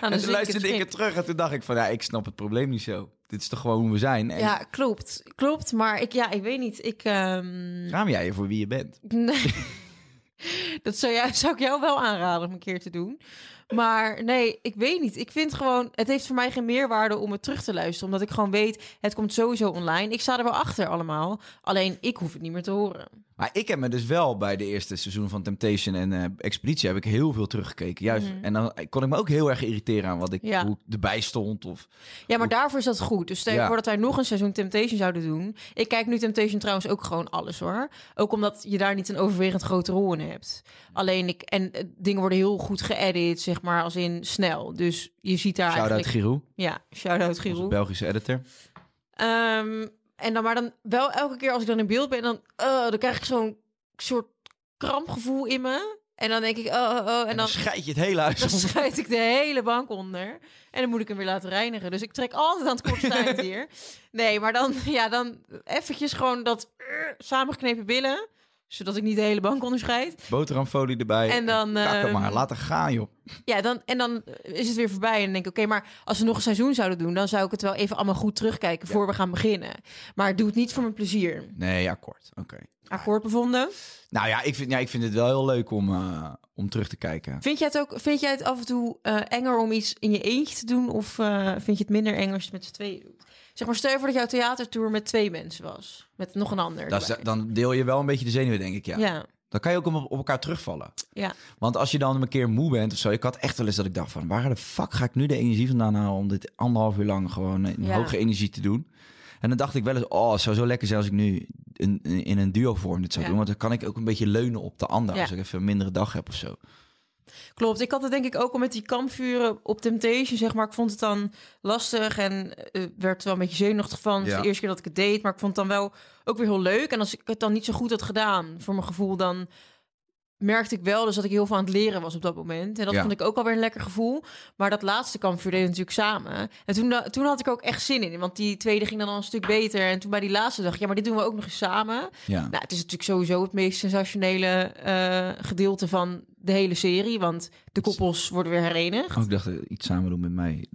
[SPEAKER 4] Aan
[SPEAKER 3] en toen luisterde ik het terug en toen dacht ik van, ja, ik snap het probleem niet zo. Dit is toch gewoon hoe we zijn. En
[SPEAKER 4] Ja, klopt. Klopt, maar ik, ja, ik weet niet. Ik, ehm,
[SPEAKER 3] schaam jij je voor wie je bent.
[SPEAKER 4] Nee. dat zou, jij, zou ik jou wel aanraden om een keer te doen. Maar nee, ik weet niet. Ik vind gewoon, het heeft voor mij geen meerwaarde om het terug te luisteren. Omdat ik gewoon weet, het komt sowieso online. Ik sta er wel achter allemaal. Alleen ik hoef het niet meer te horen.
[SPEAKER 3] Maar ik heb me dus wel bij de eerste seizoen van Temptation en eh, Expeditie heb ik heel veel teruggekeken. Juist. En dan kon ik me ook heel erg irriteren aan wat ik
[SPEAKER 4] Mhm. Ja.
[SPEAKER 3] hoe ik erbij stond. Of,
[SPEAKER 4] Ja, maar daarvoor is dat goed. Dus stel je
[SPEAKER 3] Ja.
[SPEAKER 4] voor dat wij nog een seizoen Temptation zouden doen. Ik kijk nu Temptation trouwens ook gewoon alles hoor. Ook omdat je daar niet een overwegend grote rol in hebt. Alleen ik, en eh, dingen worden heel goed geëdit, zeg maar, als in snel. Dus je ziet daar
[SPEAKER 3] Shout out
[SPEAKER 4] eigenlijk...
[SPEAKER 3] Giroud,
[SPEAKER 4] Ja, shout-out
[SPEAKER 3] onze
[SPEAKER 4] Giroud.
[SPEAKER 3] Belgische editor.
[SPEAKER 4] Ehm, en dan maar dan wel elke keer als ik dan in beeld ben, dan, eh, dan krijg ik zo'n soort krampgevoel in me. En dan denk ik, oh, oh, oh. En dan,
[SPEAKER 3] scheid je het hele huis
[SPEAKER 4] dan
[SPEAKER 3] om.
[SPEAKER 4] schijt ik de hele bank onder. En dan moet ik hem weer laten reinigen. Dus ik trek altijd aan het kortste eind hier. Nee, maar dan, ja, dan eventjes gewoon dat eh, samengeknepen billen. Zodat ik niet de hele bank onderscheid.
[SPEAKER 3] Boterhamfolie erbij.
[SPEAKER 4] En dan,
[SPEAKER 3] Kak er
[SPEAKER 4] ehm,
[SPEAKER 3] maar, laat het gaan joh.
[SPEAKER 4] Ja, dan, en dan is het weer voorbij. En dan denk ik, oké, maar als we nog een seizoen zouden doen... dan zou ik het wel even allemaal goed terugkijken voor we gaan beginnen. Maar doe het niet voor mijn plezier.
[SPEAKER 3] Nee, akkoord. Oké.
[SPEAKER 4] Akkoord bevonden.
[SPEAKER 3] Nou ja ik, vind, ja, ik vind het wel heel leuk om, eh, om terug te kijken.
[SPEAKER 4] Vind jij het ook? Vind jij het af en toe eh, enger om iets in je eentje te doen, of eh, vind je het minder eng als je het met z'n tweeën doet? Zeg maar, stel je voor dat jouw theatertour met twee mensen was, met nog een ander.
[SPEAKER 3] Dat is- eh,
[SPEAKER 4] erbij.
[SPEAKER 3] dan deel je wel een beetje de zenuwen, denk ik. Ja.
[SPEAKER 4] ja,
[SPEAKER 3] Dan kan je ook op, op elkaar terugvallen.
[SPEAKER 4] ja.
[SPEAKER 3] Want als je dan een keer moe bent of zo, ik had echt wel eens dat ik dacht van waar de fuck ga ik nu de energie vandaan halen om dit anderhalf uur lang gewoon in
[SPEAKER 4] Ja.
[SPEAKER 3] hoge energie te doen. En dan dacht ik wel eens, oh, het zou zo lekker zijn als ik nu in, in in een duo vorm dit zou
[SPEAKER 4] Ja.
[SPEAKER 3] doen. Want dan kan ik ook een beetje leunen op de ander
[SPEAKER 4] Ja.
[SPEAKER 3] als ik even een mindere dag heb of zo.
[SPEAKER 4] Klopt. Ik had het denk ik ook al met die kampvuren op Temptation, zeg maar. Ik vond het dan lastig en eh, werd er wel een beetje zenuwachtig van. Het was
[SPEAKER 3] Ja.
[SPEAKER 4] de eerste keer dat ik het deed, maar ik vond het dan wel ook weer heel leuk. En als ik het dan niet zo goed had gedaan, voor mijn gevoel, dan merkte ik wel dus dat ik heel veel aan het leren was op dat moment. En dat
[SPEAKER 3] Ja.
[SPEAKER 4] vond ik ook alweer een lekker gevoel. Maar dat laatste kampvuur deden we natuurlijk samen. En toen, da- toen had ik ook echt zin in, want die tweede ging dan al een stuk beter. En toen bij die laatste dacht ik, ja, maar dit doen we ook nog eens samen.
[SPEAKER 3] Ja.
[SPEAKER 4] Nou, het is natuurlijk sowieso het meest sensationele eh, gedeelte van de hele serie. Want de koppels worden weer herenigd.
[SPEAKER 3] Oh, ik dacht eh, iets samen doen met mij.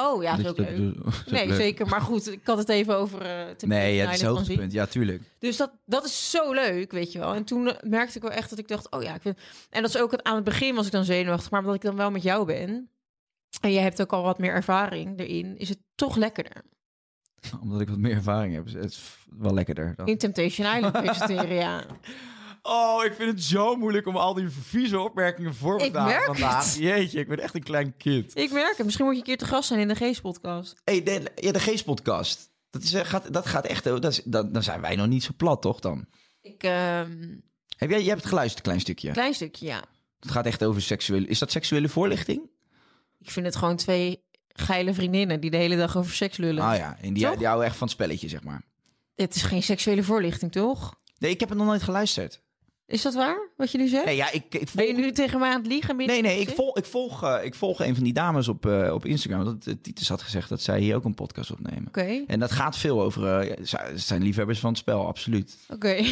[SPEAKER 4] Oh ja, dat is
[SPEAKER 3] Dat
[SPEAKER 4] ook
[SPEAKER 3] je dat
[SPEAKER 4] leuk.
[SPEAKER 3] bedoelt. Dat is
[SPEAKER 4] Nee,
[SPEAKER 3] leuk.
[SPEAKER 4] zeker. Maar goed, ik had het even over... eh, Temptation
[SPEAKER 3] Nee, ja,
[SPEAKER 4] Island
[SPEAKER 3] het is
[SPEAKER 4] van
[SPEAKER 3] het
[SPEAKER 4] Zee.
[SPEAKER 3] hoogtepunt. Ja, tuurlijk.
[SPEAKER 4] Dus dat, dat is zo leuk, weet je wel. En toen eh, merkte ik wel echt dat ik dacht, oh ja, ik vind... En dat is ook het, aan het begin was ik dan zenuwachtig, maar omdat ik dan wel met jou ben... En jij hebt ook al wat meer ervaring erin, is het toch lekkerder.
[SPEAKER 3] Oh. Omdat ik wat meer ervaring heb. is Het is wel lekkerder. Dan.
[SPEAKER 4] In Temptation Island presenteren, ja.
[SPEAKER 3] Oh, ik vind het zo moeilijk om al die vieze opmerkingen voor me
[SPEAKER 4] Ik
[SPEAKER 3] te halen
[SPEAKER 4] merk
[SPEAKER 3] vandaag.
[SPEAKER 4] het.
[SPEAKER 3] Jeetje, ik ben echt een klein kind.
[SPEAKER 4] Ik merk het. Misschien moet je een keer te gast zijn in de Geest-podcast.
[SPEAKER 3] hey, de, ja, de Geest-podcast. Dat, is, eh, gaat, dat gaat echt... eh, Dat is, dat, dan zijn wij nog niet zo plat, toch dan?
[SPEAKER 4] Ik, ehm,
[SPEAKER 3] Heb jij, jij hebt het geluisterd, een klein stukje.
[SPEAKER 4] klein stukje, ja.
[SPEAKER 3] Het gaat echt over seksuele... Is dat seksuele voorlichting?
[SPEAKER 4] Ik vind het gewoon twee geile vriendinnen die de hele dag over seks lullen.
[SPEAKER 3] Ah ja, en die,
[SPEAKER 4] Toch?
[SPEAKER 3] die houden echt van het spelletje, zeg maar.
[SPEAKER 4] Het is geen seksuele voorlichting, toch?
[SPEAKER 3] Nee, ik heb het nog nooit geluisterd.
[SPEAKER 4] Is dat waar, wat je nu zegt?
[SPEAKER 3] Nee, ja, ik, ik
[SPEAKER 4] Ben je
[SPEAKER 3] volg...
[SPEAKER 4] nu tegen mij aan het liegen? Midden
[SPEAKER 3] Nee,
[SPEAKER 4] in
[SPEAKER 3] nee,
[SPEAKER 4] het
[SPEAKER 3] ik volg, ik, volg, eh, ik volg een van die dames op, eh, op Instagram. Dat, eh, Titus had gezegd dat zij hier ook een podcast opnemen.
[SPEAKER 4] Oké,
[SPEAKER 3] En dat gaat veel over... eh, ja, ze- ze zijn liefhebbers van het spel, absoluut.
[SPEAKER 4] oké.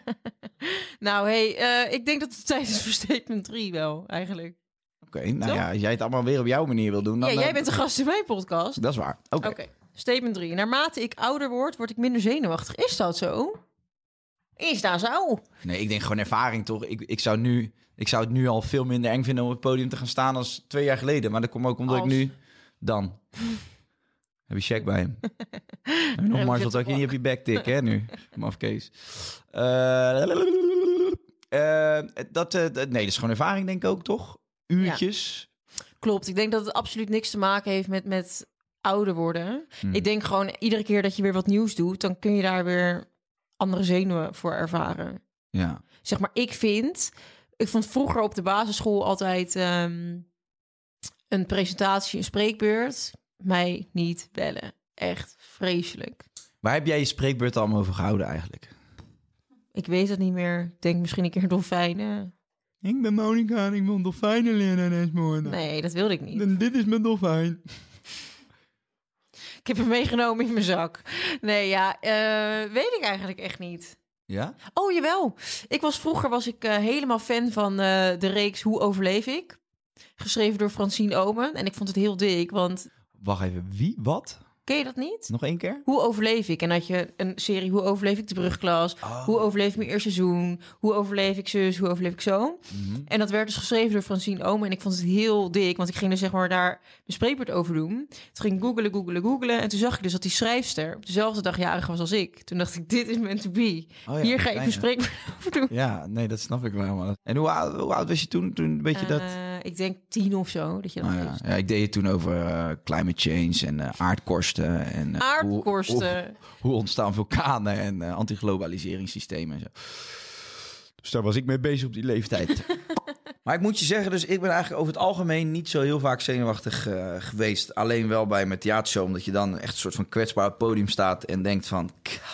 [SPEAKER 4] nou, hey, eh, ik denk dat het tijd is voor statement 3 wel, eigenlijk.
[SPEAKER 3] Oké, nou
[SPEAKER 4] Toch?
[SPEAKER 3] ja, als jij het allemaal weer op jouw manier wil doen... Dan,
[SPEAKER 4] ja,
[SPEAKER 3] eh,
[SPEAKER 4] jij bent de gast in mijn podcast.
[SPEAKER 3] Dat is waar. Oké.
[SPEAKER 4] Oké, statement 3. Naarmate ik ouder word, word ik minder zenuwachtig. Is dat zo? Is dat zo?
[SPEAKER 3] Nee, ik denk gewoon ervaring toch. Ik, ik, zou nu, ik zou het nu al veel minder eng vinden om op het podium te gaan staan als twee jaar geleden. Maar dat komt ook omdat ik
[SPEAKER 4] Als-
[SPEAKER 3] nu... Dan. heb je check bij hem. Heb je nog
[SPEAKER 4] ik
[SPEAKER 3] Marcel
[SPEAKER 4] zit te
[SPEAKER 3] dat je niet op je bek tik, hè, nu. Maf Kees. Eh, eh, dat, eh, dat- nee, dat is gewoon ervaring denk ik ook, toch? Uurtjes.
[SPEAKER 4] Klopt. Ik denk dat het absoluut niks te maken heeft met, met ouder worden. Ik denk gewoon iedere keer dat je weer wat nieuws doet, dan kun je daar weer andere zenuwen voor ervaren.
[SPEAKER 3] Ja.
[SPEAKER 4] Zeg maar, ik vind, ik vond vroeger op de basisschool altijd ehm, een presentatie, een spreekbeurt, mij niet bellen. Echt vreselijk.
[SPEAKER 3] Waar heb jij je spreekbeurt allemaal over gehouden eigenlijk?
[SPEAKER 4] Ik weet het niet meer. Ik denk misschien een keer dolfijnen.
[SPEAKER 3] Ik ben Monika en ik wil dolfijnen leren en morgen.
[SPEAKER 4] Nee, dat wilde ik niet.
[SPEAKER 3] En dit is mijn dolfijn.
[SPEAKER 4] Ik heb hem meegenomen in mijn zak. Nee, ja, eh, weet ik eigenlijk echt niet.
[SPEAKER 3] Ja?
[SPEAKER 4] Oh, jawel. Ik was vroeger was ik eh, helemaal fan van eh, de reeks Hoe overleef ik? Geschreven door Francine Omen. En ik vond het heel dik, want
[SPEAKER 3] Wacht even, wie? Wat?
[SPEAKER 4] ken Ken je dat niet?
[SPEAKER 3] Nog één keer?
[SPEAKER 4] Hoe overleef ik? En dat je een serie, hoe overleef ik de brugklas?
[SPEAKER 3] Oh.
[SPEAKER 4] Hoe overleef ik mijn eerste seizoen? Hoe overleef ik zus? Hoe overleef ik zo?
[SPEAKER 3] Mhm.
[SPEAKER 4] En dat werd dus geschreven door Francine Omen. En ik vond het heel dik, want ik ging dus zeg maar daar mijn spreekbeurt over doen. Toen ging ik googelen, googelen, googelen. En toen zag ik dus dat die schrijfster op dezelfde dag jarig was als ik. Toen dacht ik, dit is meant to be.
[SPEAKER 3] Oh ja,
[SPEAKER 4] Hier ga ik
[SPEAKER 3] bijna.
[SPEAKER 4] mijn spreekbeurt over doen.
[SPEAKER 3] Ja, nee, dat snap ik wel. Man. En hoe oud, hoe oud was je toen? Toen een beetje dat...
[SPEAKER 4] Eh, ik denk tien of zo, dat je dat
[SPEAKER 3] Nou ja,
[SPEAKER 4] leest.
[SPEAKER 3] ja, ik deed het toen over eh, climate change en eh, aardkorsten. En, eh, Hoe,
[SPEAKER 4] Aardkorsten.
[SPEAKER 3] hoe, hoe ontstaan vulkanen en eh, antiglobaliseringssystemen en zo. Dus daar was ik mee bezig op die leeftijd. maar ik moet je zeggen, dus ik ben eigenlijk over het algemeen niet zo heel vaak zenuwachtig eh, geweest. Alleen wel bij mijn theatershow, omdat je dan echt een soort van kwetsbaar op het podium staat en denkt van...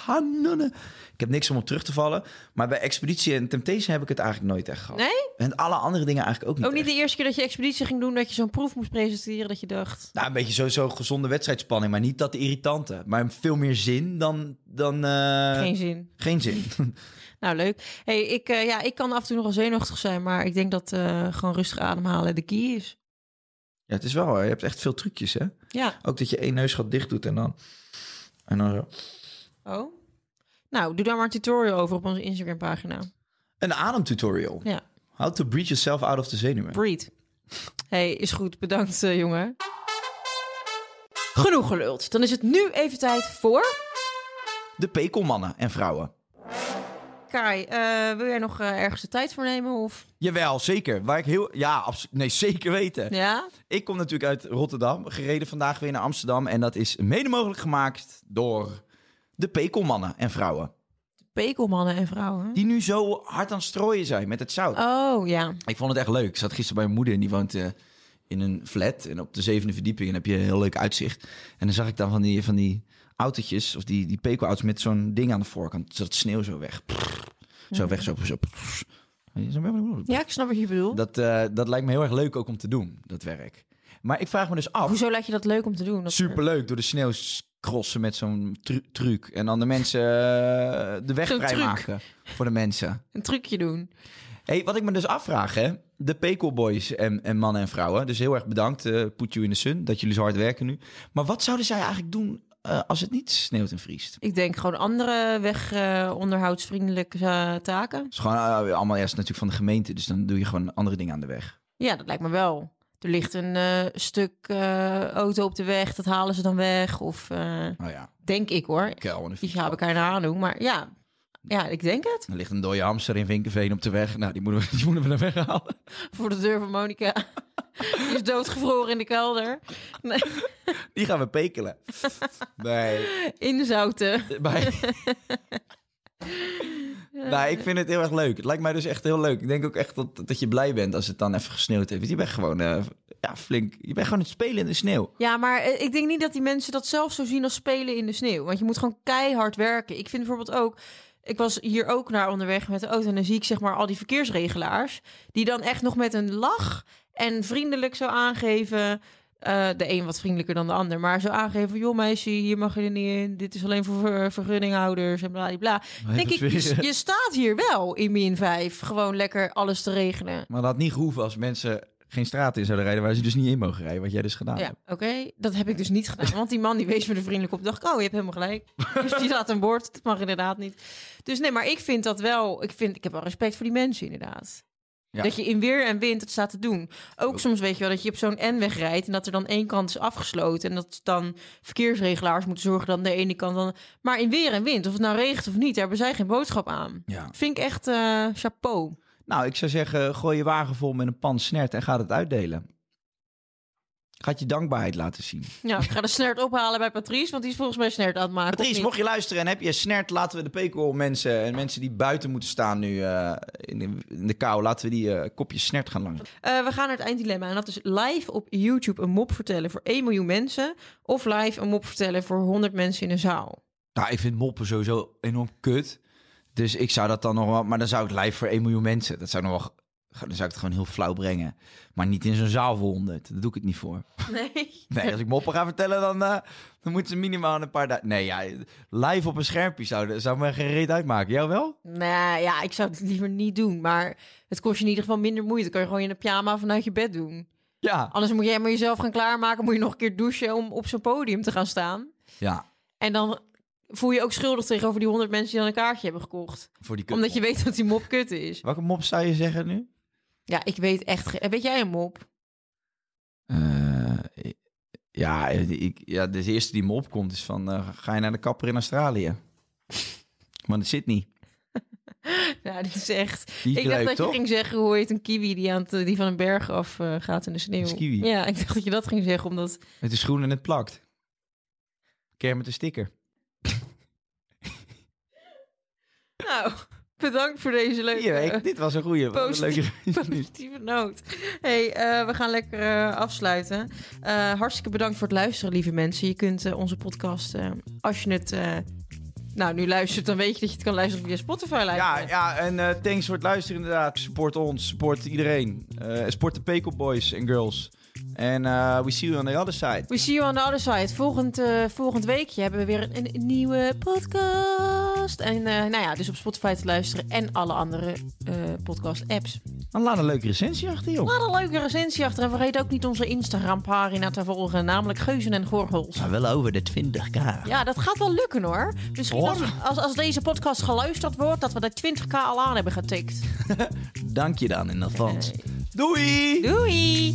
[SPEAKER 3] Kanonnen. Ik heb niks om op terug te vallen. Maar bij Expeditie en Temptation heb ik het eigenlijk nooit echt gehad.
[SPEAKER 4] Nee?
[SPEAKER 3] En alle andere dingen eigenlijk ook niet
[SPEAKER 4] Ook niet
[SPEAKER 3] echt.
[SPEAKER 4] de eerste keer dat je expeditie ging doen, dat je zo'n proef moest presenteren, dat je dacht...
[SPEAKER 3] Nou, een beetje sowieso gezonde wedstrijdspanning, maar niet dat irritante. Maar veel meer zin dan... dan eh,
[SPEAKER 4] Geen zin.
[SPEAKER 3] geen zin.
[SPEAKER 4] Nou, leuk. Hey, ik, eh, ja, ik kan af en toe nogal zenuwachtig zijn, maar ik denk dat eh, gewoon rustig ademhalen de key is.
[SPEAKER 3] ja, het is wel, hè, je hebt echt veel trucjes, hè?
[SPEAKER 4] Ja.
[SPEAKER 3] Ook dat je één neusgat dicht doet en dan... En dan zo.
[SPEAKER 4] Oh. Nou, doe daar maar een tutorial over op onze Instagram-pagina.
[SPEAKER 3] Een ademtutorial.
[SPEAKER 4] Ja.
[SPEAKER 3] How to breathe yourself out of the zenuwen.
[SPEAKER 4] Breed. Hey, is goed. Bedankt, eh, jongen. Genoeg geluld. Dan is het nu even tijd voor...
[SPEAKER 3] De pekelmannen en vrouwen.
[SPEAKER 4] Kai, eh, wil jij nog eh, ergens de tijd voor nemen? Of...
[SPEAKER 3] Jawel, zeker. Waar ik heel... Ja, absolu- Nee, zeker weten.
[SPEAKER 4] Ja?
[SPEAKER 3] Ik kom natuurlijk uit Rotterdam, gereden vandaag weer naar Amsterdam. En dat is mede mogelijk gemaakt door de pekelmannen en vrouwen.
[SPEAKER 4] Pekelmannen en vrouwen.
[SPEAKER 3] Die nu zo hard aan het strooien zijn met het zout.
[SPEAKER 4] Oh, ja.
[SPEAKER 3] Ik vond het echt leuk. Ik zat gisteren bij mijn moeder en die woont eh, in een flat. En op de zevende verdieping en heb je een heel leuk uitzicht. En dan zag ik dan van die, van die autootjes, of die, die pekelauto's met zo'n ding aan de voorkant. Zodat het sneeuw zo weg. Zo weg, zo. zo.
[SPEAKER 4] Ja, ik snap wat je bedoelt.
[SPEAKER 3] Dat, eh, dat lijkt me heel erg leuk ook om te doen, dat werk. Maar ik vraag me dus af,
[SPEAKER 4] Hoezo laat je dat leuk om te doen? Dat-
[SPEAKER 3] superleuk door de sneeuw crossen met zo'n tru- truc. En dan de mensen eh, de weg
[SPEAKER 4] Zo'n truc.
[SPEAKER 3] vrijmaken voor de mensen.
[SPEAKER 4] Een trucje doen.
[SPEAKER 3] Hey, wat ik me dus afvraag, hè? De Pekelboys en, en mannen en vrouwen. Dus heel erg bedankt, eh Put You in the Sun, dat jullie zo hard werken nu. Maar wat zouden zij eigenlijk doen eh, als het niet sneeuwt en vriest? Het
[SPEAKER 4] Ik denk gewoon andere weg eh, onderhoudsvriendelijke eh, taken.
[SPEAKER 3] is gewoon eh, allemaal eerst natuurlijk van de gemeente, dus dan doe je gewoon andere dingen aan de weg.
[SPEAKER 4] Ja, dat lijkt me wel. Er ligt een eh, stuk eh, auto op de weg, dat halen ze dan weg. Of eh,
[SPEAKER 3] Nou ja,
[SPEAKER 4] denk ik hoor.
[SPEAKER 3] kuil en een
[SPEAKER 4] Die
[SPEAKER 3] fiets.
[SPEAKER 4] gaan we elkaar naar doen. Maar ja. ja, ik denk het.
[SPEAKER 3] Er ligt een dode hamster in Vinkenveen op de weg. Nou, die moeten we, die moeten we dan weghalen.
[SPEAKER 4] Voor de deur van Monica. Die is doodgevroren in de kelder. Nee,
[SPEAKER 3] Die gaan we pekelen. Nee.
[SPEAKER 4] inzouten.
[SPEAKER 3] Bij... nou, ik vind het heel erg leuk. Het lijkt mij dus echt heel leuk. Ik denk ook echt dat, dat je blij bent als het dan even gesneeuwd heeft. Want je bent gewoon eh, ja, flink. Je bent gewoon aan het spelen in de sneeuw.
[SPEAKER 4] Ja, maar eh, ik denk niet dat die mensen dat zelf zo zien als spelen in de sneeuw. Want je moet gewoon keihard werken. Ik vind bijvoorbeeld ook. Ik was hier ook naar onderweg met de auto. En dan zie ik zeg maar al die verkeersregelaars. Die dan echt nog met een lach en vriendelijk zo aangeven. eh, de een wat vriendelijker dan de ander. Maar zo aangeven: van, joh, meisje, hier mag je er niet in. Dit is alleen voor ver- vergunninghouders en bla bla.
[SPEAKER 3] Maar
[SPEAKER 4] Denk ik,
[SPEAKER 3] dat weer-
[SPEAKER 4] je, je staat hier wel in min 5. Gewoon lekker alles te regenen.
[SPEAKER 3] Maar dat had niet gehoeven als mensen geen straat in zouden rijden waar ze dus niet in mogen rijden. Wat jij dus gedaan
[SPEAKER 4] Ja,
[SPEAKER 3] hebt.
[SPEAKER 4] oké. Dat heb ik dus niet gedaan. Want die man die wees me er vriendelijk op. dacht ik, oh, je hebt helemaal gelijk. Dus die zat aan boord. Dat mag inderdaad niet. Dus nee, maar ik vind dat wel... Ik, vind, ik heb wel respect voor die mensen inderdaad.
[SPEAKER 3] Ja.
[SPEAKER 4] Dat je in weer en wind het staat te doen. Ook soms weet je wel dat je op zo'n N-weg rijdt... en dat er dan één kant is afgesloten... en dat dan verkeersregelaars moeten zorgen... dan de ene kant dan... Maar in weer en wind, of het nou regent of niet... daar hebben zij geen boodschap aan.
[SPEAKER 3] Ja.
[SPEAKER 4] Vind ik echt eh, chapeau.
[SPEAKER 3] Nou, ik zou zeggen, gooi je wagen vol met een pan snert en ga het uitdelen. Gaat je dankbaarheid laten zien.
[SPEAKER 4] Ja, ik ga de snert ophalen bij Patrice... want die is volgens mij snert aan het maken. of
[SPEAKER 3] Patrice,
[SPEAKER 4] niet?
[SPEAKER 3] mocht je luisteren en heb je snert, laten we de pekel mensen en mensen die buiten moeten staan nu eh, in, de, in de kou, laten we die eh, kopjes snert gaan langs.
[SPEAKER 4] Eh, we gaan naar het einddilemma. En dat is live op YouTube een mop vertellen voor 1 miljoen mensen. Of live een mop vertellen voor 100 mensen in een zaal.
[SPEAKER 3] Nou, ik vind moppen sowieso enorm kut. Dus ik zou dat dan nog wel... Maar dan zou ik live voor 1 miljoen mensen. Dat zou ik nog wel... Dan zou ik het gewoon heel flauw brengen. Maar niet in zo'n zaal voor 100. Daar doe ik het niet voor.
[SPEAKER 4] Nee.
[SPEAKER 3] Nee, als ik moppen ga vertellen, dan, eh, dan moeten ze minimaal een paar... da- Nee, ja, live op een schermpje zou, zou me geen reet uitmaken. Jou wel?
[SPEAKER 4] Nou ja, ik zou het liever niet doen. Maar het kost je in ieder geval minder moeite. Dan kan je gewoon in een pyjama vanuit je bed doen.
[SPEAKER 3] Ja.
[SPEAKER 4] Anders moet jij maar jezelf gaan klaarmaken. Moet je nog een keer douchen om op zo'n podium te gaan staan.
[SPEAKER 3] Ja,
[SPEAKER 4] En dan voel je je ook schuldig tegenover die 100 mensen die dan een kaartje hebben gekocht.
[SPEAKER 3] voor die kut.
[SPEAKER 4] Omdat je weet dat die mop kut is.
[SPEAKER 3] Welke mop zou je zeggen nu?
[SPEAKER 4] Ja, ik weet echt. ge- Weet jij een mop?
[SPEAKER 3] Eh, ja, ik, ja, de eerste die me opkomt is van... eh, ga je naar de kapper in Australië? maar dat zit niet.
[SPEAKER 4] Ja, dit is echt.
[SPEAKER 3] Die is
[SPEAKER 4] ik dacht
[SPEAKER 3] leuk,
[SPEAKER 4] dat
[SPEAKER 3] toch?
[SPEAKER 4] je ging zeggen, hoe heet een kiwi die, aan het, die van een berg af eh, gaat in de sneeuw?
[SPEAKER 3] Een kiwi.
[SPEAKER 4] Ja, ik dacht dat je dat ging zeggen, omdat...
[SPEAKER 3] Met de schoen en het plakt. Kermit de sticker.
[SPEAKER 4] Nou, bedankt voor deze leuke...
[SPEAKER 3] Hier, ik- dit was een goede.
[SPEAKER 4] positief-
[SPEAKER 3] leuke...
[SPEAKER 4] Positieve noot. hey, eh, we gaan lekker eh, afsluiten. Eh, hartstikke bedankt voor het luisteren, lieve mensen. Je kunt eh, onze podcast, eh, als je het eh, nou nu luistert, dan weet je dat je het kan luisteren via Spotify. lijkt
[SPEAKER 3] Ja,
[SPEAKER 4] me.
[SPEAKER 3] ja, en eh, thanks voor het luisteren inderdaad. Support ons, support iedereen. Eh, support de Pekel Boys en Girls. En eh, we see you on the other side.
[SPEAKER 4] We see you on the other side. Volgend, eh, volgend weekje hebben we weer een, een nieuwe podcast. En eh, nou ja, dus op Spotify te luisteren en alle andere eh, podcast-apps.
[SPEAKER 3] Dan laat een leuke recensie achter, joh.
[SPEAKER 4] Laat een leuke recensie achter en vergeet ook niet onze Instagram-pagina te volgen, namelijk Geuzen en Gorgels.
[SPEAKER 3] wel over de 20k.
[SPEAKER 4] Ja, dat gaat wel lukken hoor. Misschien
[SPEAKER 3] Hoor.
[SPEAKER 4] als, als, als deze podcast geluisterd wordt, dat we de 20k al aan hebben getikt.
[SPEAKER 3] Dank je dan in alvast. Doei!
[SPEAKER 4] Doei!